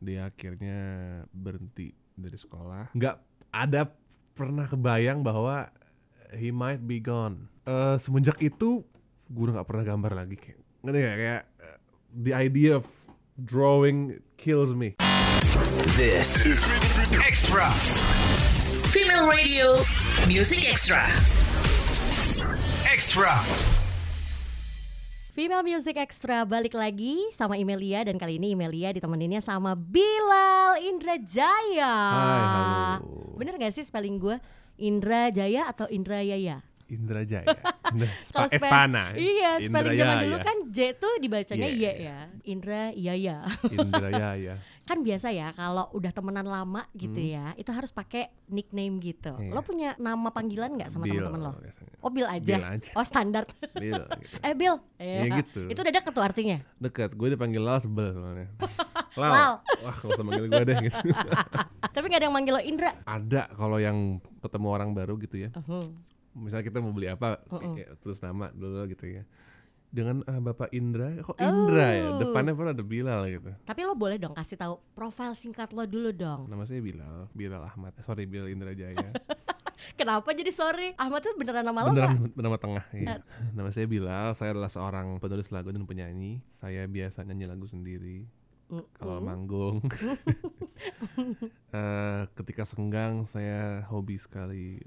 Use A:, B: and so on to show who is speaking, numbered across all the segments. A: dia akhirnya berhenti dari sekolah nggak ada pernah kebayang bahwa he might be gone Eh, semenjak itu guru nggak pernah gambar lagi kayak ngerti nggak? kayak eh, the idea of drawing kills me
B: This is
C: Extra. Female Radio Music Extra. Extra.
D: Female Music Extra balik lagi sama Imelia dan kali ini Imelia ditemeninnya sama Bilal Indra Jaya.
A: Hai, halo.
D: Bener gak sih spelling gue Indra Jaya atau Indra Yaya?
A: Indra Jaya Nah,
D: Kalau
A: Spa-
D: spell-
A: Espana
D: Iya,
A: Indra
D: spelling zaman
A: Jaya.
D: dulu kan J tuh dibacanya
A: Iya,
D: Y ya. Indra Yaya.
A: Indra Yaya
D: kan biasa ya kalau udah temenan lama gitu ya, itu harus pakai nickname gitu.
A: Hmm. Iya.
D: Lo punya nama panggilan nggak sama
A: Bill
D: teman-teman lo?
A: biasanya.
D: Oh, Bill aja.
A: Bill aja.
D: Oh, standar.
A: Bill, gitu.
D: eh, Bill.
A: Iya, gitu.
D: Itu udah deket tuh artinya.
A: Dekat, gue dipanggil Lal sebel soalnya Lal,
D: Lal.
A: wah gak usah manggil gue deh gitu
D: Ah, Tapi gak ada yang manggil lo Indra.
A: Ada kalau yang ketemu orang baru gitu ya
D: Oh,
A: Misalnya kita mau beli apa,
D: Mm-mm.
A: kayak terus nama dulu gitu ya Dengan ah, Bapak Indra, kok Indra ya?
D: Oh.
A: Depannya pernah ada Bilal gitu
D: Tapi lo boleh dong kasih tahu profil singkat lo dulu dong.
A: Nama saya Bilal, Bilal Ahmad Eh, Sorry, Bilal Indra Jaya
D: Kenapa jadi sorry? Ahmad tuh beneran nama lo nggak?
A: Beneran nama tengah iya.
D: Eh.
A: Nama saya Bilal, saya adalah seorang penulis lagu dan penyanyi Saya biasa nyanyi lagu sendiri
D: Mm-mm.
A: Kalau manggung Eh, Ketika senggang, saya hobi sekali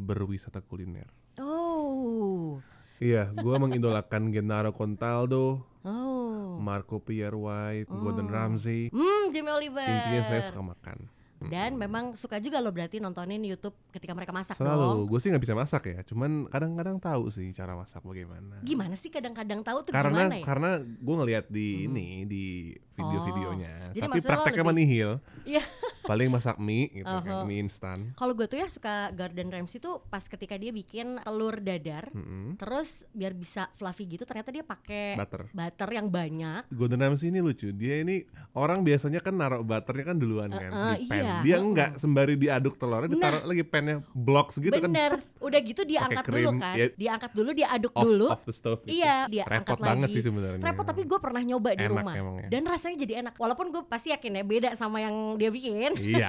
A: berwisata kuliner
D: Oh.
A: Iya, gue mengidolakan Gennaro Contaldo,
D: Oh.
A: Marco Pierre White, Gordon Ramsay
D: Hmm, Jimmy Oliver.
A: Intinya
D: Eh,
A: saya suka makan
D: Dan memang suka juga lo berarti nontonin YouTube ketika mereka masak dong.
A: Selalu, gue sih nggak bisa masak ya Cuman kadang-kadang tahu sih cara masak bagaimana
D: Gimana sih kadang-kadang tahu tuh
A: karena
D: Gitu, gimana ya? Hmm.
A: karena gue ngeliat di ini di video-videonya
D: Oh, jadi
A: tapi
D: maksud lo
A: prakteknya
D: lebih-
A: menihil
D: Iya.
A: paling masak mie gitu
D: Uh-huh.
A: kan mie instan
D: Kalau gue tuh ya suka Garden Ramsay tuh pas ketika dia bikin telur dadar,
A: Mm-mm.
D: terus biar bisa fluffy gitu ternyata dia pakai
A: butter
D: butter yang banyak.
A: Gordon Ramsay ini lucu dia ini orang biasanya kan naruh butternya kan duluan kan
D: Uh-uh,
A: di pan
D: iya,
A: dia
D: uh-uh.
A: enggak sembari diaduk telurnya ditaruh lagi pannya blocks gitu kan
D: Bener. Udah gitu dia
A: Pakai
D: angkat dulu
A: krim,
D: kan.
A: ya.
D: Dia angkat dulu, dia aduk
A: off,
D: dulu.
A: off the stove gitu.
D: Iya, dia
A: repot
D: angkat
A: banget
D: lagi.
A: sih sebenarnya
D: Repot tapi gue pernah nyoba di
A: Enak
D: rumah
A: emang ya.
D: dan rasanya jadi enak. Walaupun gue pasti yakin ya beda sama yang dia bikin.
A: iya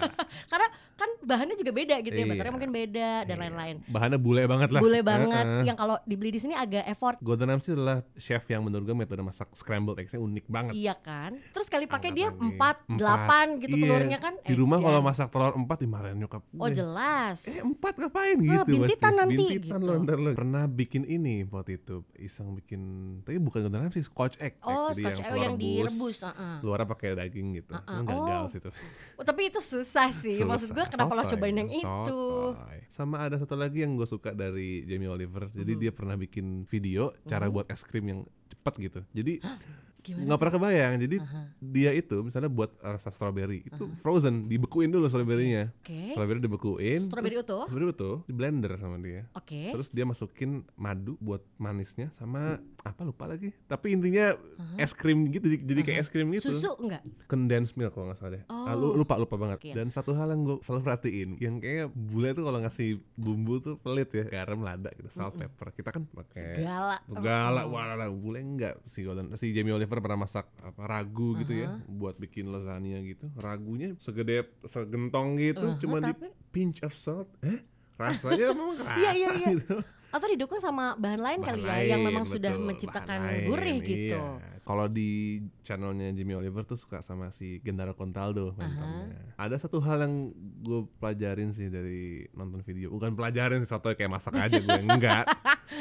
D: Karena kan bahannya juga beda gitu ya,
A: Iya.
D: butternya mungkin beda dan
A: Iya.
D: lain-lain.
A: bahannya bule banget lah
D: Boleh banget iya.
A: Uh-uh.
D: yang kalau dibeli di sini agak effort
A: Gordon Ramsay adalah chef yang menurut gue metode masak scrambled eggsnya unik banget
D: Iya kan? Terus kali pakai
A: Angkat
D: dia
A: lagi.
D: 4,
A: Empat.
D: 8 gitu
A: Iya.
D: telurnya kan.
A: di rumah
D: edan.
A: kalau masak telur empat dimarahin nyokap
D: Oh
A: gue.
D: jelas.
A: eh empat ngapain
D: Ah,
A: gitu
D: bintitan
A: pasti.
D: nanti,
A: bintitan
D: gitu.
A: lo ntar lo pernah bikin ini waktu itu iseng bikin tapi bukan Golden Ram sih scotch egg
D: Oh,
A: Jadi
D: scotch egg
A: telur
D: yang
A: rebus,
D: direbus, heeh.
A: luarnya pakai daging gitu
D: Ah, ah.
A: Emang gagal
D: Oh,
A: sih tuh
D: Oh, tapi itu susah sih. Maksud
A: Susah.
D: gue kenapa lo
A: Sotoy,
D: cobain yang itu?
A: sotoy. sama ada satu lagi yang gue suka dari Jamie Oliver jadi
D: Mm-hmm.
A: dia pernah bikin video cara buat es krim yang cepat gitu jadi
D: Gimana?
A: nggak pernah kebayang jadi dia itu misalnya buat rasa strawberry itu frozen dibekuin dulu strawberrynya
D: Oke.
A: strawberry dibekuin
D: Strawberry
A: terus-
D: utuh.
A: strawberry utuh di blender sama dia
D: Oke.
A: terus dia masukin madu buat manisnya sama apa lupa lagi tapi intinya es krim gitu jadi, jadi kayak es krim gitu
D: Susu enggak?
A: condensed milk kalau nggak salah deh Ah, lu- lupa lupa banget
D: Oh, Oke.
A: dan satu hal yang gue selalu perhatiin yang kayaknya bule tuh kalau ngasih bumbu tuh pelit ya garam lada gitu salt pepper kita kan pakai
D: Segala.
A: segala
D: Oh.
A: wala bule enggak si Golden si Jamie Oliver pernah masak apa ragu gitu ya
D: Uh-huh.
A: buat bikin lasagna gitu ragunya segede segentong gitu cuma di
D: Uh-huh, tapi-
A: pinch of salt eh rasanya memang kerasa
D: Iya, iya, iya.
A: gitu
D: Atau didukung sama bahan lain
A: Bahan
D: kali ya yang
A: lain,
D: memang
A: betul,
D: sudah
A: bahan
D: menciptakan
A: lain,
D: gurih
A: iya.
D: gitu.
A: Kalau di channelnya Jimmy Oliver tuh suka sama si Gendaro Contaldo mantannya. Ada satu hal yang gue pelajarin sih dari nonton video. Bukan pelajarin sih, satu kayak masak aja gue enggak.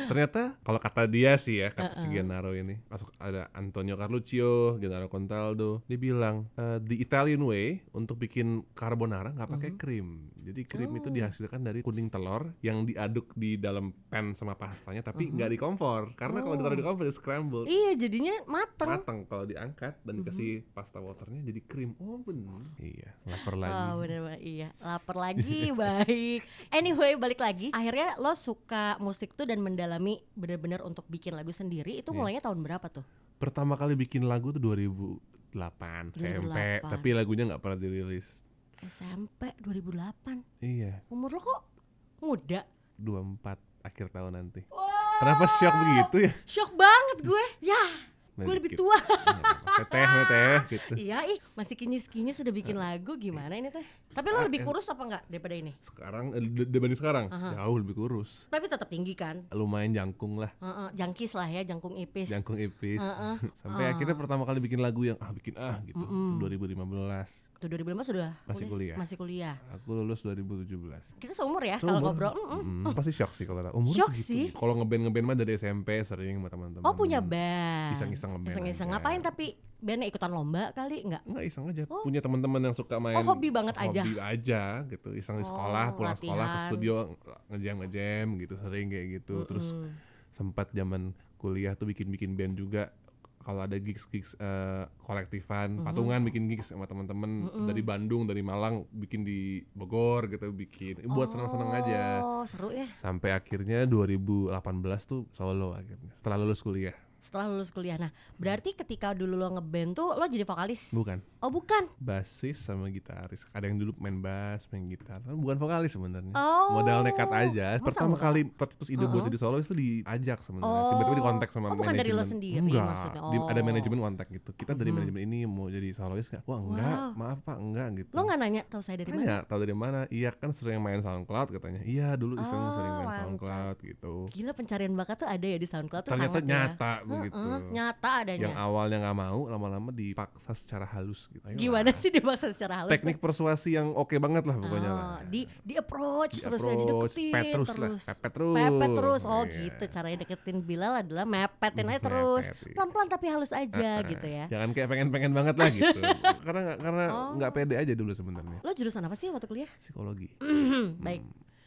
A: Ternyata kalau kata dia sih ya, kata si Gennaro ini, masuk ada Antonio Carluccio, Gennaro Contaldo, dia bilang "Eh, the Italian way untuk bikin carbonara nggak pakai krim. Jadi krim itu dihasilkan dari kuning telur yang diaduk di dalam pan sama pastanya, tapi nggak di kompor. Karena kalau ditaruh di kompor dia scramble
D: Iya, jadinya mateng.
A: matang kalau diangkat dan dikasih pasta waternya jadi krim oh benar Mhm. iya lapar
D: Oh
A: lagi
D: bener banget. iya lapar lagi baik anyway balik lagi akhirnya lo suka musik tuh dan mendalami bener-bener untuk bikin lagu sendiri itu
A: Iya.
D: mulainya tahun berapa tuh
A: pertama kali bikin lagu tuh 2008 SMP
D: 2008.
A: tapi lagunya nggak pernah dirilis
D: SMP 2008
A: iya
D: umur lo kok muda
A: 24 akhir tahun nanti
D: Wah,
A: kenapa shock begitu ya Nah, gitu.
D: shock banget gue ya gue lebih tua
A: Teteh, teteh gitu.
D: iya ih masih kinyis kinyis sudah bikin
A: Nah.
D: lagu gimana ini
A: Eh,
D: teh tapi lo lebih kurus apa enggak daripada ini
A: Sekarang eh, d- dibanding sekarang jauh lebih kurus.
D: tapi tetap tinggi kan
A: Lumayan jangkung lah,
D: Heeh, jangkis lah ya jangkung ipis
A: jangkung ipis. Sampai akhirnya
D: Ah.
A: pertama kali bikin lagu yang ah bikin ah gitu. 2015.
D: tuh 2005 sudah
A: Masih kuliah.
D: masih kuliah
A: Aku lulus 2017.
D: kita seumur ya kalau
A: Seumur.
D: ngobrol Mm-mm.
A: Mm, pasti shock sih kalau umur
D: Shock
A: segitu.
D: sih.
A: Kalau ngeband ngeband mah dari SMP sering sama teman-teman.
D: oh punya band
A: Iseng-iseng ngeband
D: iseng-iseng
A: aja.
D: ngapain tapi bandnya ikutan lomba kali enggak
A: Enggak iseng aja.
D: Oh.
A: Punya teman-teman yang suka main.
D: Oh, hobi banget aja.
A: Hobi aja gitu. Iseng di
D: Oh,
A: sekolah, pulang sekolah ke
D: latihan.
A: studio ngejam ngejam gitu sering kayak gitu. Terus sempat zaman kuliah tuh bikin-bikin band juga. Kalau ada gigs-gigs eh, kolektifan, patungan bikin gigs sama teman-teman dari Bandung, dari Malang, bikin di Bogor gitu, bikin buat senang-senang aja.
D: oh seru ya
A: Sampai akhirnya 2018 tuh solo akhirnya. Setelah lulus kuliah.
D: setelah lulus kuliah nah berarti ketika dulu lo ngeband tuh lo jadi vokalis
A: Bukan.
D: oh bukan
A: basis sama gitaris. Ada yang dulu main bass, main gitar. Kan Bukan vokalis sebenarnya.
D: Oh.
A: Modal nekat aja.
D: Masa
A: Pertama
D: enggak?
A: kali tercetus ide buat jadi solois itu diajak sebenarnya.
D: Oh.
A: Tiba-tiba dikontak sama
D: Oh, bukan dari lo
A: manajemen.
D: sendiri
A: Enggak.
D: maksudnya.
A: Di- Ada
D: Oh. Uh-huh.
A: manajemen kontak gitu. Kita dari manajemen ini mau jadi solois nggak? Wah enggak, maaf pak enggak gitu.
D: lo nggak nanya tahu saya dari mana
A: Tanya, tahu dari mana? Iya kan sering main SoundCloud katanya. Iya dulu iseng
D: Oh,
A: sering main SoundCloud gitu.
D: gila pencarian bakat tuh ada ya di SoundCloud tuh
A: Ternyata
D: sangat ya.
A: nyata
D: Heeh,
A: begitu.
D: nyata adanya
A: Yang awalnya nggak mau, lama-lama dipaksa secara halus gitu. Ayolah.
D: gimana sih dibahas secara halus
A: Teknik persuasi yang oke banget lah pokoknya
D: Oh,
A: lah.
D: di di approach
A: Di
D: terus ya
A: approach,
D: dideketin
A: pepet terus lah, pepet terus.
D: Pepet terus. oh
A: Iya.
D: gitu caranya deketin Bilal adalah mepetin aja
A: Mepet,
D: terus
A: iya.
D: pelan pelan tapi halus aja gitu ya Oh.
A: Jangan kayak pengen-pengen banget lah gitu. karena nggak karena nggak pede aja dulu sebenarnya.
D: lo jurusan apa sih waktu kuliah
A: Psikologi.
D: Mm,
A: Hmm,
D: baik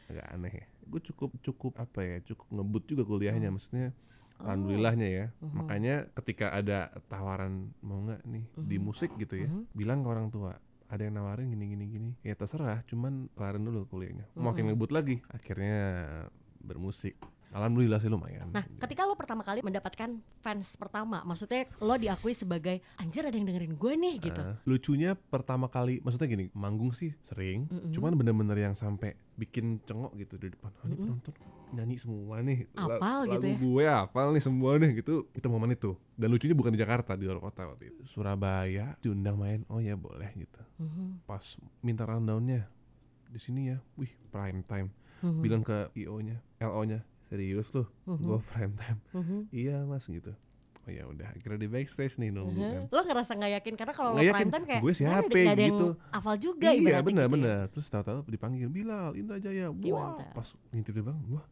A: Agak aneh ya. Gue cukup cukup apa ya? Cukup ngebut juga kuliahnya
D: Oh.
A: maksudnya. Alhamdulillahnya ya.
D: Mm-hmm.
A: Makanya ketika ada tawaran mau nggak nih di
D: Mm-hmm.
A: musik gitu ya, bilang ke orang tua ada yang nawarin gini gini gini ya terserah cuman kelarin dulu kuliahnya
D: Mm-hmm.
A: makin ngebut lagi akhirnya bermusik alhamdulillah sih lumayan
D: nah ketika lo pertama kali mendapatkan fans pertama maksudnya lo diakui sebagai anjir ada yang dengerin gue nih gitu
A: Nah, lucunya pertama kali maksudnya gini manggung sih sering cuman bener-bener yang sampai bikin cengok gitu di depan "Ah, ini penonton nyanyi semua nih La-
D: Apal gitu
A: lagu
D: ya.
A: gue hafal nih semua nih gitu itu momen itu dan lucunya bukan di Jakarta di luar kota waktu itu Surabaya diundang main oh ya boleh gitu pas minta rundownnya di sini ya wih prime time
D: Mhm. Mm.
A: bilang ke io nya lo nya serius lu
D: Mhm.
A: gue
D: Mm-hmm.
A: prime time iya mas gitu oh ya udah akhirnya di backstage nih nunggu kan
D: Mhm. lo ngerasa nggak yakin karena kalau lo
A: Nggak
D: prime
A: yakin,
D: time kayak
A: gue
D: nggak ada-
A: siapa
D: nggak ada yang
A: gitu.
D: hafal juga
A: iya
D: ibaratnya
A: benar
D: gitu ya. Iya,
A: benar terus tahu-tahu dipanggil Bilal Indra Jaya wah
D: mantap.
A: pas ngintip dia bang wah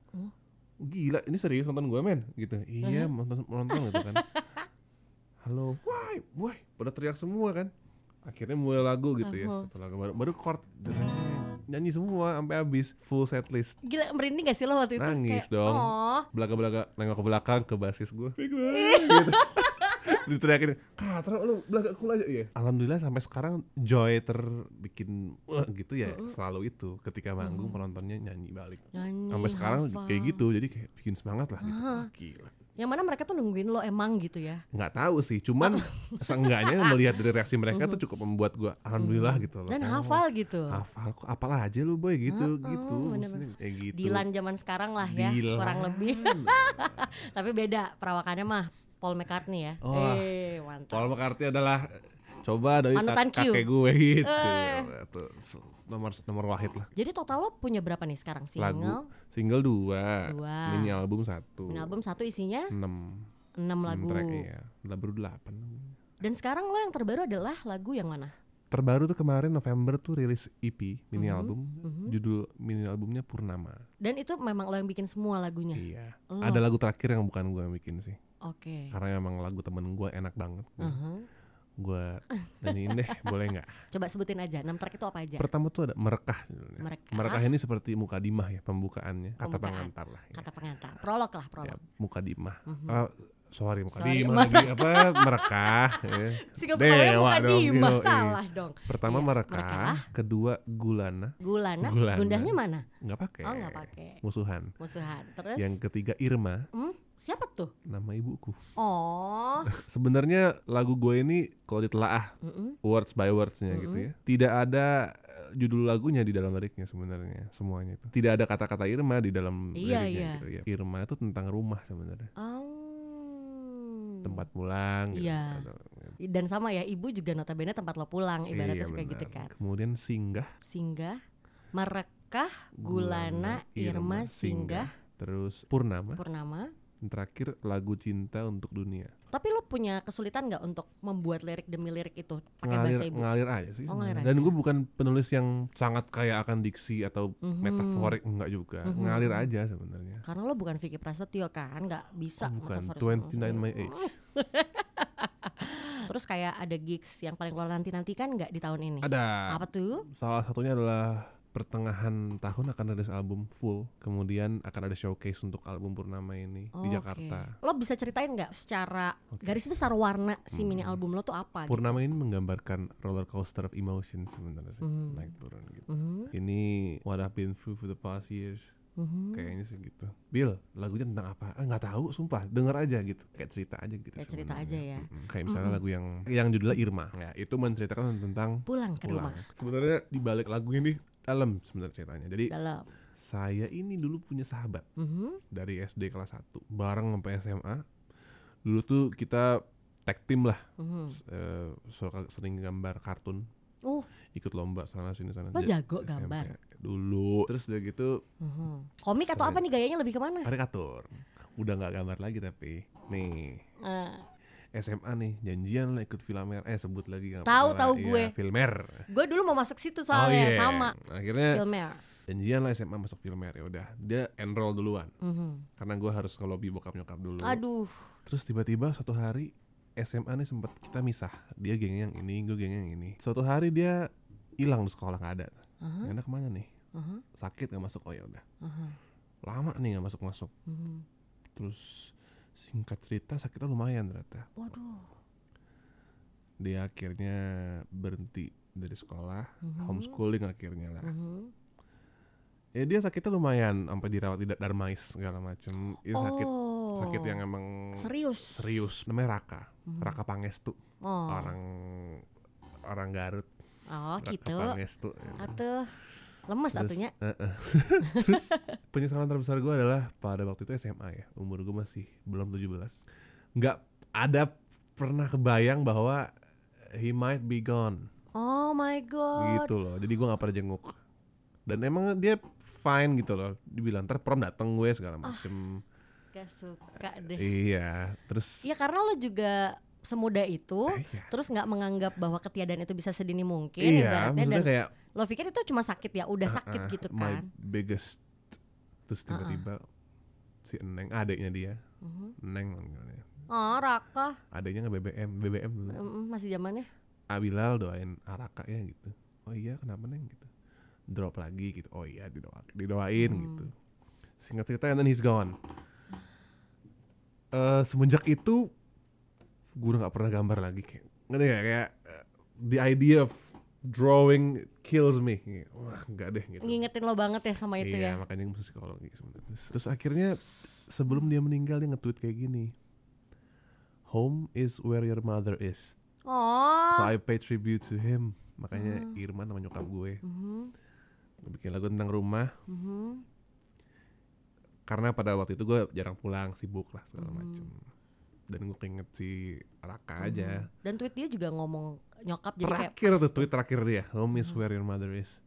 A: gila ini serius nonton gue men gitu iya nonton nonton gitu kan halo wah wah pada teriak semua kan akhirnya mulai lagu gitu ya
D: Uh-huh.
A: satu lagu baru baru chord gitu kan. nyanyi semua sampai habis full setlist
D: gila merinding gak sih lo waktu itu
A: nangis
D: Kayak,
A: dong
D: oh
A: belaga belaga nengok ke belakang ke basis gue gitu. diteriakin katro lu belaga cool aja iya alhamdulillah sampai sekarang joy terbikin wah gitu ya selalu itu ketika manggung penontonnya nyanyi balik
D: nyanyi
A: sampai sekarang
D: hafal.
A: kayak gitu jadi kayak bikin semangat lah gitu Wah, gila
D: yang mana mereka tuh nungguin lo emang gitu ya
A: nggak tahu sih cuman seenggaknya melihat dari reaksi mereka tuh cukup membuat gue alhamdulillah gitu loh
D: dan
A: Oh,
D: hafal gitu
A: hafal kok apalah aja lu boy gitu gitu maksudnya kayak gitu
D: Dilan zaman sekarang lah ya
A: Dilan.
D: kurang lebih tapi beda perawakannya mah Paul McCartney ya
A: Wah.
D: eh mantap
A: Paul McCartney adalah coba dari
D: Panutan
A: kak-
D: Q.
A: kakek gue gitu.
D: Eh.
A: Tuh, s- nomor nomor wahid lah.
D: jadi total lo punya berapa nih sekarang
A: Lagu
D: single
A: single dua,
D: Dua.
A: mini album satu,
D: Mini album satu isinya
A: enam,
D: 6
A: enam
D: lagu
A: track iya, Lah, baru delapan.
D: dan sekarang lo yang terbaru adalah lagu yang mana
A: Terbaru tuh kemarin November tuh rilis EP mini
D: Mhm,
A: album, judul mini albumnya Purnama.
D: dan itu memang lo yang bikin semua lagunya
A: Iya.
D: Oh.
A: Ada lagu terakhir yang bukan gue yang bikin sih,
D: oke
A: karena memang lagu temen gue enak banget.
D: Heeh. Iya.
A: Gue nyanyiin deh, boleh nggak?
D: coba sebutin aja 6 track itu apa aja
A: Pertama tuh ada merekah judulnya.
D: Merekah.
A: ini seperti mukadimah ya pembukaannya, kata
D: Pembukaan.
A: pengantar lah ya.
D: kata pengantar prolog lah
A: Ya,
D: prolog Uh-huh.
A: mukadimah. Ah, sorry
D: Hmm. Sorry,
A: mukadimah lagi apa merekah ya.
D: Single pertamanya
A: Dewa
D: bukan
A: dong,
D: Dimas,
A: yoi.
D: salah dong.
A: Pertama
D: Iya,
A: merekah,
D: merekah.
A: kedua gulana,
D: Gulana,
A: Gulana.
D: gundahnya mana?
A: nggak pakai.
D: Oh, nggak pakai.
A: Musuhan.
D: Musuhan. Terus
A: Yang ketiga Irma,
D: hmm, siapa tuh?
A: nama ibuku.
D: Oh,
A: Sebenarnya lagu gue ini kalau ditelaah words by wordsnya
D: Hmm.
A: gitu ya, tidak ada eh, judul lagunya di dalam liriknya sebenarnya semuanya itu. Tidak ada kata-kata Irma di dalam liriknya
D: Iya, iya.
A: gitu ya. Irma itu tentang rumah sebenarnya.
D: oh.
A: tempat pulang gitu.
D: Iya.
A: Atau-
D: Dan sama ya, ibu juga notabene tempat lo pulang, ibaratnya
A: Iya,
D: suka gitu
A: benar.
D: kan.
A: Kemudian singgah
D: Singgah, merekah, gulana, irma, singgah,
A: Terus Purnama.
D: purnama.
A: Dan Terakhir lagu cinta untuk dunia.
D: Tapi lo punya kesulitan nggak untuk membuat lirik demi lirik itu pakai
A: Ngalir,
D: bahasa ibu?
A: ngalir aja sih.
D: Oh,
A: sebenarnya.
D: ngalir
A: Dan
D: aja.
A: gue bukan penulis yang sangat kaya akan diksi atau
D: Mhm.
A: metaforik enggak juga.
D: Mhm.
A: Ngalir aja sebenarnya.
D: Karena lo bukan Vicky Prasetyo kan, nggak bisa.
A: Oh, bukan
D: metaforis-
A: 29 my age.
D: Hmm. Terus kayak ada gigs yang paling lo nanti nantikan nggak di tahun ini?
A: Ada.
D: Apa tuh?
A: Salah satunya adalah pertengahan tahun akan ada album full, kemudian akan ada showcase untuk album Purnama ini di
D: Oke.
A: Jakarta.
D: Lo bisa ceritain nggak secara
A: Oke. Hmm.
D: garis besar warna si mini album lo tuh apa? gitu?
A: Purnama ini menggambarkan roller coaster of emotion sebenarnya sih,
D: Hmm.
A: naik turun gitu.
D: Mhm,
A: Ini what I've been through for the past years.
D: mhm.
A: Kayaknya sih gitu. Bill, lagunya tentang apa? Ah, nggak tahu, sumpah. Denger aja gitu. Kayak cerita aja gitu.
D: Kayak cerita
A: sebenarnya.
D: aja ya.
A: Mm-mm. Kayak misalnya lagu yang yang judulnya Irma. Ya, itu menceritakan tentang
D: Pulang ke
A: pulang.
D: rumah
A: Sebenarnya di balik lagu ini dalam sebenarnya ceritanya. Jadi
D: dalam.
A: saya ini dulu punya sahabat
D: Mhm.
A: dari SD kelas 1 bareng sampai SMA. Dulu tuh kita tag team lah.
D: Mhm.
A: S- eh, suka sering gambar kartun,
D: Uh,
A: ikut lomba sana sini sana.
D: Lo
A: Ja-
D: jago
A: SMP.
D: gambar?
A: Dulu. Terus udah gitu
D: mhm. komik atau
A: Sering.
D: apa nih gayanya lebih kemana?
A: karikatur. Udah nggak gambar lagi tapi nih
D: Eh,
A: SMA nih janjian lah ikut Filmer eh sebut lagi nggak
D: Tahu,
A: apa-apa
D: tahu
A: lah. Iya,
D: gue.
A: Filmer
D: gue dulu mau masuk situ soalnya
A: iya.
D: sama
A: akhirnya
D: filmnya.
A: janjian lah SMA masuk Filmer ya udah dia enroll duluan
D: Mhm.
A: karena gue harus ngelobi bokap nyokap dulu
D: Aduh,
A: terus tiba-tiba suatu hari SMA nih sempat kita misah dia geng yang ini gue geng yang ini suatu hari dia hilang di sekolah nggak ada
D: Aha.
A: Nggak ada kemana nih
D: Aha.
A: sakit nggak masuk oh ya udah
D: Aha.
A: lama nih nggak masuk masuk
D: Mhm.
A: terus singkat cerita sakitnya lumayan ternyata
D: waduh,
A: dia akhirnya berhenti dari sekolah
D: Hmm.
A: homeschooling akhirnya lah
D: Mhm.
A: ya dia sakitnya lumayan sampai dirawat di darmais segala macem Ini sakit
D: Oh.
A: sakit yang emang
D: serius.
A: serius namanya Raka Raka Pangestu
D: Hmm. Oh,
A: orang orang Garut
D: oh
A: Raka
D: gitu.
A: Pangestu ya.
D: Atuh, lemes
A: Terus-
D: atunya.
A: Heeh. Terus, penyesalan terbesar gue adalah pada waktu itu SMA ya umur gue masih belum 17 nggak ada pernah kebayang bahwa he might be gone
D: Oh my god.
A: gitu loh jadi gue nggak pernah jenguk dan emang dia fine gitu loh dibilang ntar prom dateng gue segala
D: Ah.
A: macem
D: Gak suka deh.
A: iya terus
D: Ya karena lo juga semuda itu,
A: Ah, iya.
D: terus nggak menganggap bahwa ketiadaan itu bisa sedini mungkin
A: iya
D: ibaratnya
A: maksudnya
D: dan
A: kayak
D: lo pikir itu cuma sakit ya, udah sakit
A: "Ah,
D: gitu
A: my
D: kan.
A: biggest terus tiba-tiba si Eneng adiknya dia
D: Mhm.
A: Eneng manggilnya
D: Oh, Raka.
A: adiknya nggak BBM BBM dulu
D: Mm, masih zamannya.
A: Abilal doain Araka ya gitu oh iya kenapa Neng gitu drop lagi gitu oh iya didoain, didoain
D: Hmm.
A: gitu singkat cerita and then he's gone Eh semenjak itu gue udah nggak pernah gambar lagi kayak ngerti nggak? kayak eh, the idea of drawing kills me Kayak, wah nggak deh gitu
D: Ngingetin lo banget ya sama itu
A: iya
D: ya.
A: makanya gue masuk psikologi sebenarnya terus akhirnya sebelum dia meninggal dia nge-tweet kayak gini home is where your mother is
D: Oh. Hmm.
A: So I pay tribute to him. Makanya Irman sama nyokap gue.
D: Mhm,
A: Gue bikin lagu tentang rumah
D: mhm.
A: karena pada waktu itu gue jarang pulang, sibuk lah segala
D: Hmm.
A: macem. Dan gue keinget si Raka aja.
D: Dan tweet dia juga ngomong nyokap Hmm. jadi kayak Hmm.
A: Terakhir tuh tweet terakhir dia, home is where your mother is.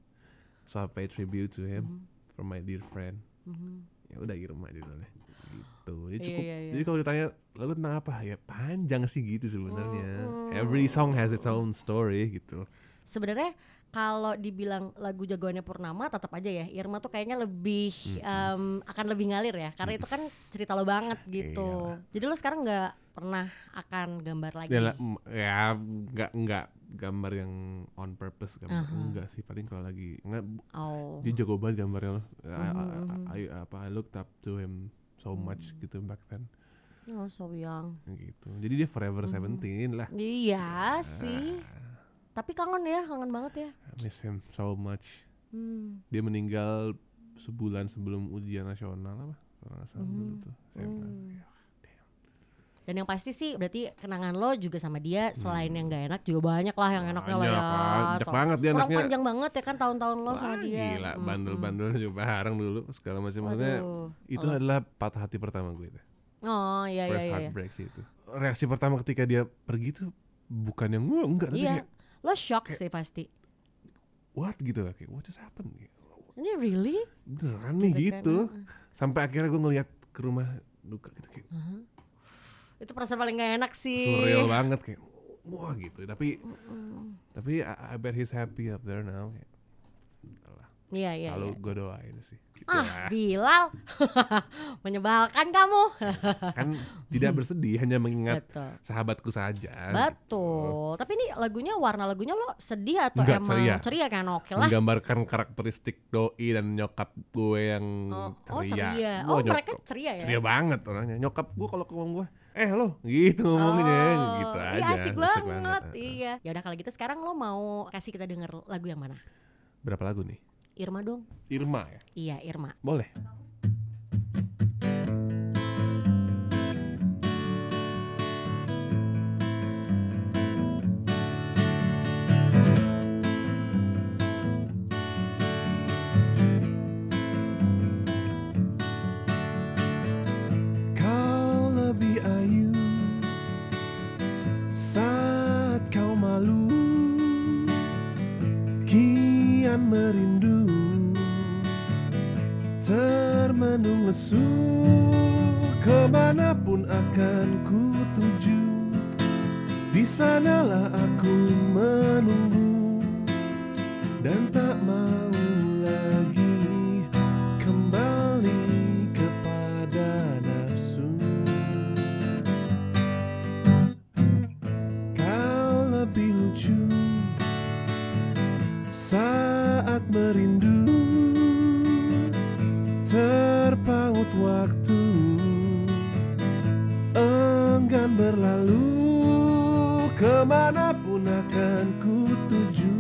A: So I pay tribute to him from my dear friend.
D: Mhm.
A: Ya udah Irma judulnya. Gitu. Jadi
D: Iya,
A: cukup.
D: iya, iya.
A: Jadi kalau ditanya lagu tentang apa? Ya panjang sih gitu sebenarnya.
D: Hmm.
A: Every song has its own story gitu.
D: Sebenarnya kalau dibilang lagu jagoannya Purnama tetap aja ya Irma tuh kayaknya lebih em, akan lebih ngalir ya karena itu kan cerita lo banget gitu. Jadi lo sekarang nggak pernah akan gambar lagi.
A: ya lah, mm, ya nggak nggak gambar yang on purpose gambar enggak sih paling kalau lagi nggak bu-
D: Oh. Hmm.
A: dia jago banget gambarnya loh I- I, I- apa I looked up to him so much gitu back then
D: Oh, so young.
A: gitu jadi dia
D: Hmm.
A: forever 17 lah
D: Iya sih. Tapi kangen ya, kangen banget ya.
A: I miss him so much
D: Hmm.
A: dia meninggal sebulan sebelum ujian nasional apa kalau nggak salah
D: Hmm.
A: dulu tuh SMA. Ya,
D: Dan yang pasti sih berarti kenangan lo juga sama dia selain yang gak enak juga banyak lah yang enaknya lah
A: Banyak,
D: ya.
A: banyak
D: Ter-
A: banget dia
D: Orang
A: enaknya.
D: panjang banget ya kan tahun-tahun lo sama
A: Wah,
D: dia.
A: gila
D: Hmm.
A: bandel-bandel juga bareng dulu segala macam maksudnya
D: Waduh.
A: itu adalah patah hati pertama gue itu
D: Oh iya iya
A: First
D: iya.
A: heartbreak sih itu. Reaksi pertama ketika dia pergi tuh bukan yang wah enggak tapi
D: Iya.
A: kayak
D: Lo shock sih pasti.
A: what gitu lah kayak what just happened gitu.
D: Ini really?
A: Beneran nih
D: Gitu kan,
A: gitu. Sampai akhirnya gue ngeliat ke rumah duka gitu kayak
D: Itu perasaan paling gak enak sih.
A: surreal banget kayak wah gitu. Tapi tapi I, I bet he's happy up there now. Kayak, "Udahlah,
D: Iya iya.
A: Kalau
D: iya.
A: gue doain sih. Gitu
D: Ah,
A: lah.
D: Bilal. Menyebalkan kamu.
A: kan tidak bersedih hanya mengingat
D: Betul.
A: sahabatku saja. gitu.
D: Betul. Tapi ini lagunya warna lagunya lo sedih atau
A: Enggak,
D: emang
A: ceria.
D: ceria, kan? Oke lah.
A: Menggambarkan karakteristik doi dan nyokap gue yang
D: Oh,
A: ceria.
D: oh, ceria.
A: Gua
D: Oh,
A: nyokap-
D: mereka ceria ya?
A: Ceria banget orangnya. Nyokap gue kalau ke rumah gue, eh lo gitu ngomonginnya
D: Oh,
A: gitu
D: iya,
A: aja.
D: asik banget.
A: Heeh.
D: Iya. Ya udah kalau gitu sekarang lo mau kasih kita denger lagu yang mana?
A: Berapa lagu nih?
D: Irma dong.
A: Irma ya.
D: Iya, Irma.
A: Boleh. Kau lebih ayu saat kau malu kian merindu termenung lesu kemanapun akan ku tuju di sanalah aku menunggu dan tak mau lagi kembali kepada nafsu kau lebih lucu saat merindu terpaut waktu enggan berlalu kemanapun akan ku tuju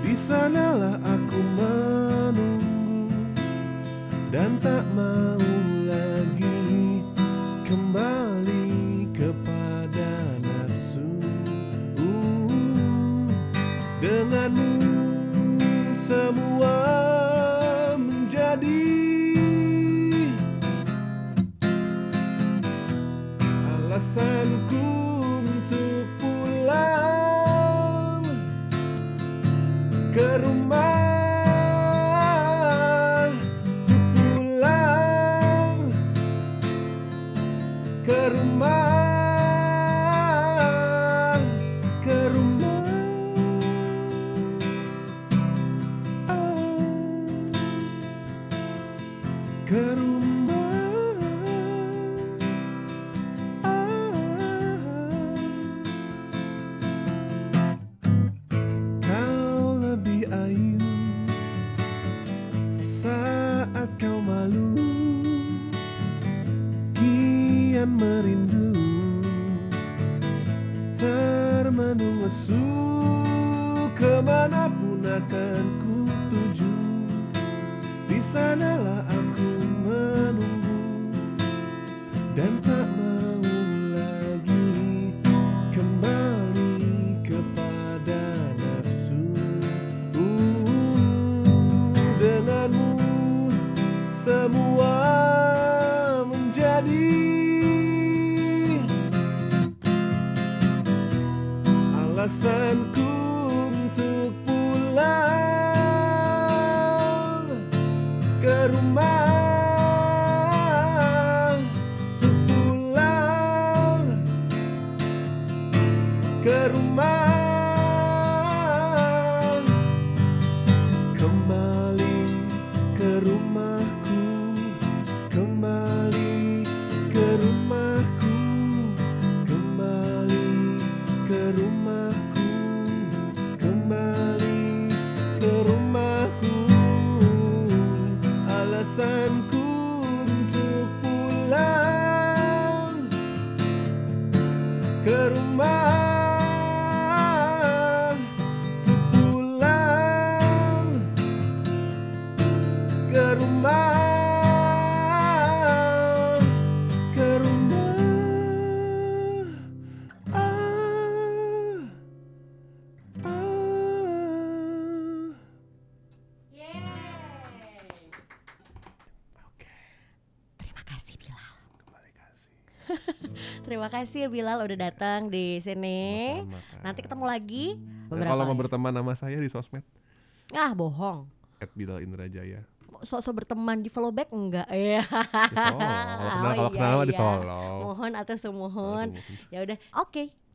A: di sanalah aku menunggu dan tak mau lagi kembali kepada nafsu Uh, denganmu semua menjadi alasanku untuk pulang ke rumah untuk pulang ke rumah ke rumah ke rumah Kau lebih ayu saat kau malu kian merindu termenung lesu kemanapun akan ku tuju di sanalah aku menunggu dan tak mau lagi kembali kepada nafsu Uh, denganmu semua menjadi alasanku untuk pulang ke rumah untuk pulang ke rumah kembali ke rumahku kembali ke rumahku kembali ke rumahku kembali ke rumahku alasan
D: Terima kasih ya Bilal udah datang di sini.
A: Sama-sama, Kak.
D: Nanti ketemu lagi
A: Dan
D: beberapa
A: kalau mau
D: hari.
A: berteman sama saya di sosmed
D: Ah, bohong.
A: at Bilal Indrajaya.
D: Sok-sok berteman di follow back enggak? Iya.
A: Di follow. Kalau kenal, kalau
D: Oh,
A: kenal
D: iya,
A: mah di
D: iya.
A: follow.
D: Mohon atau semohon.
A: Oh. Aduh, mohon.
D: Ya udah, oke.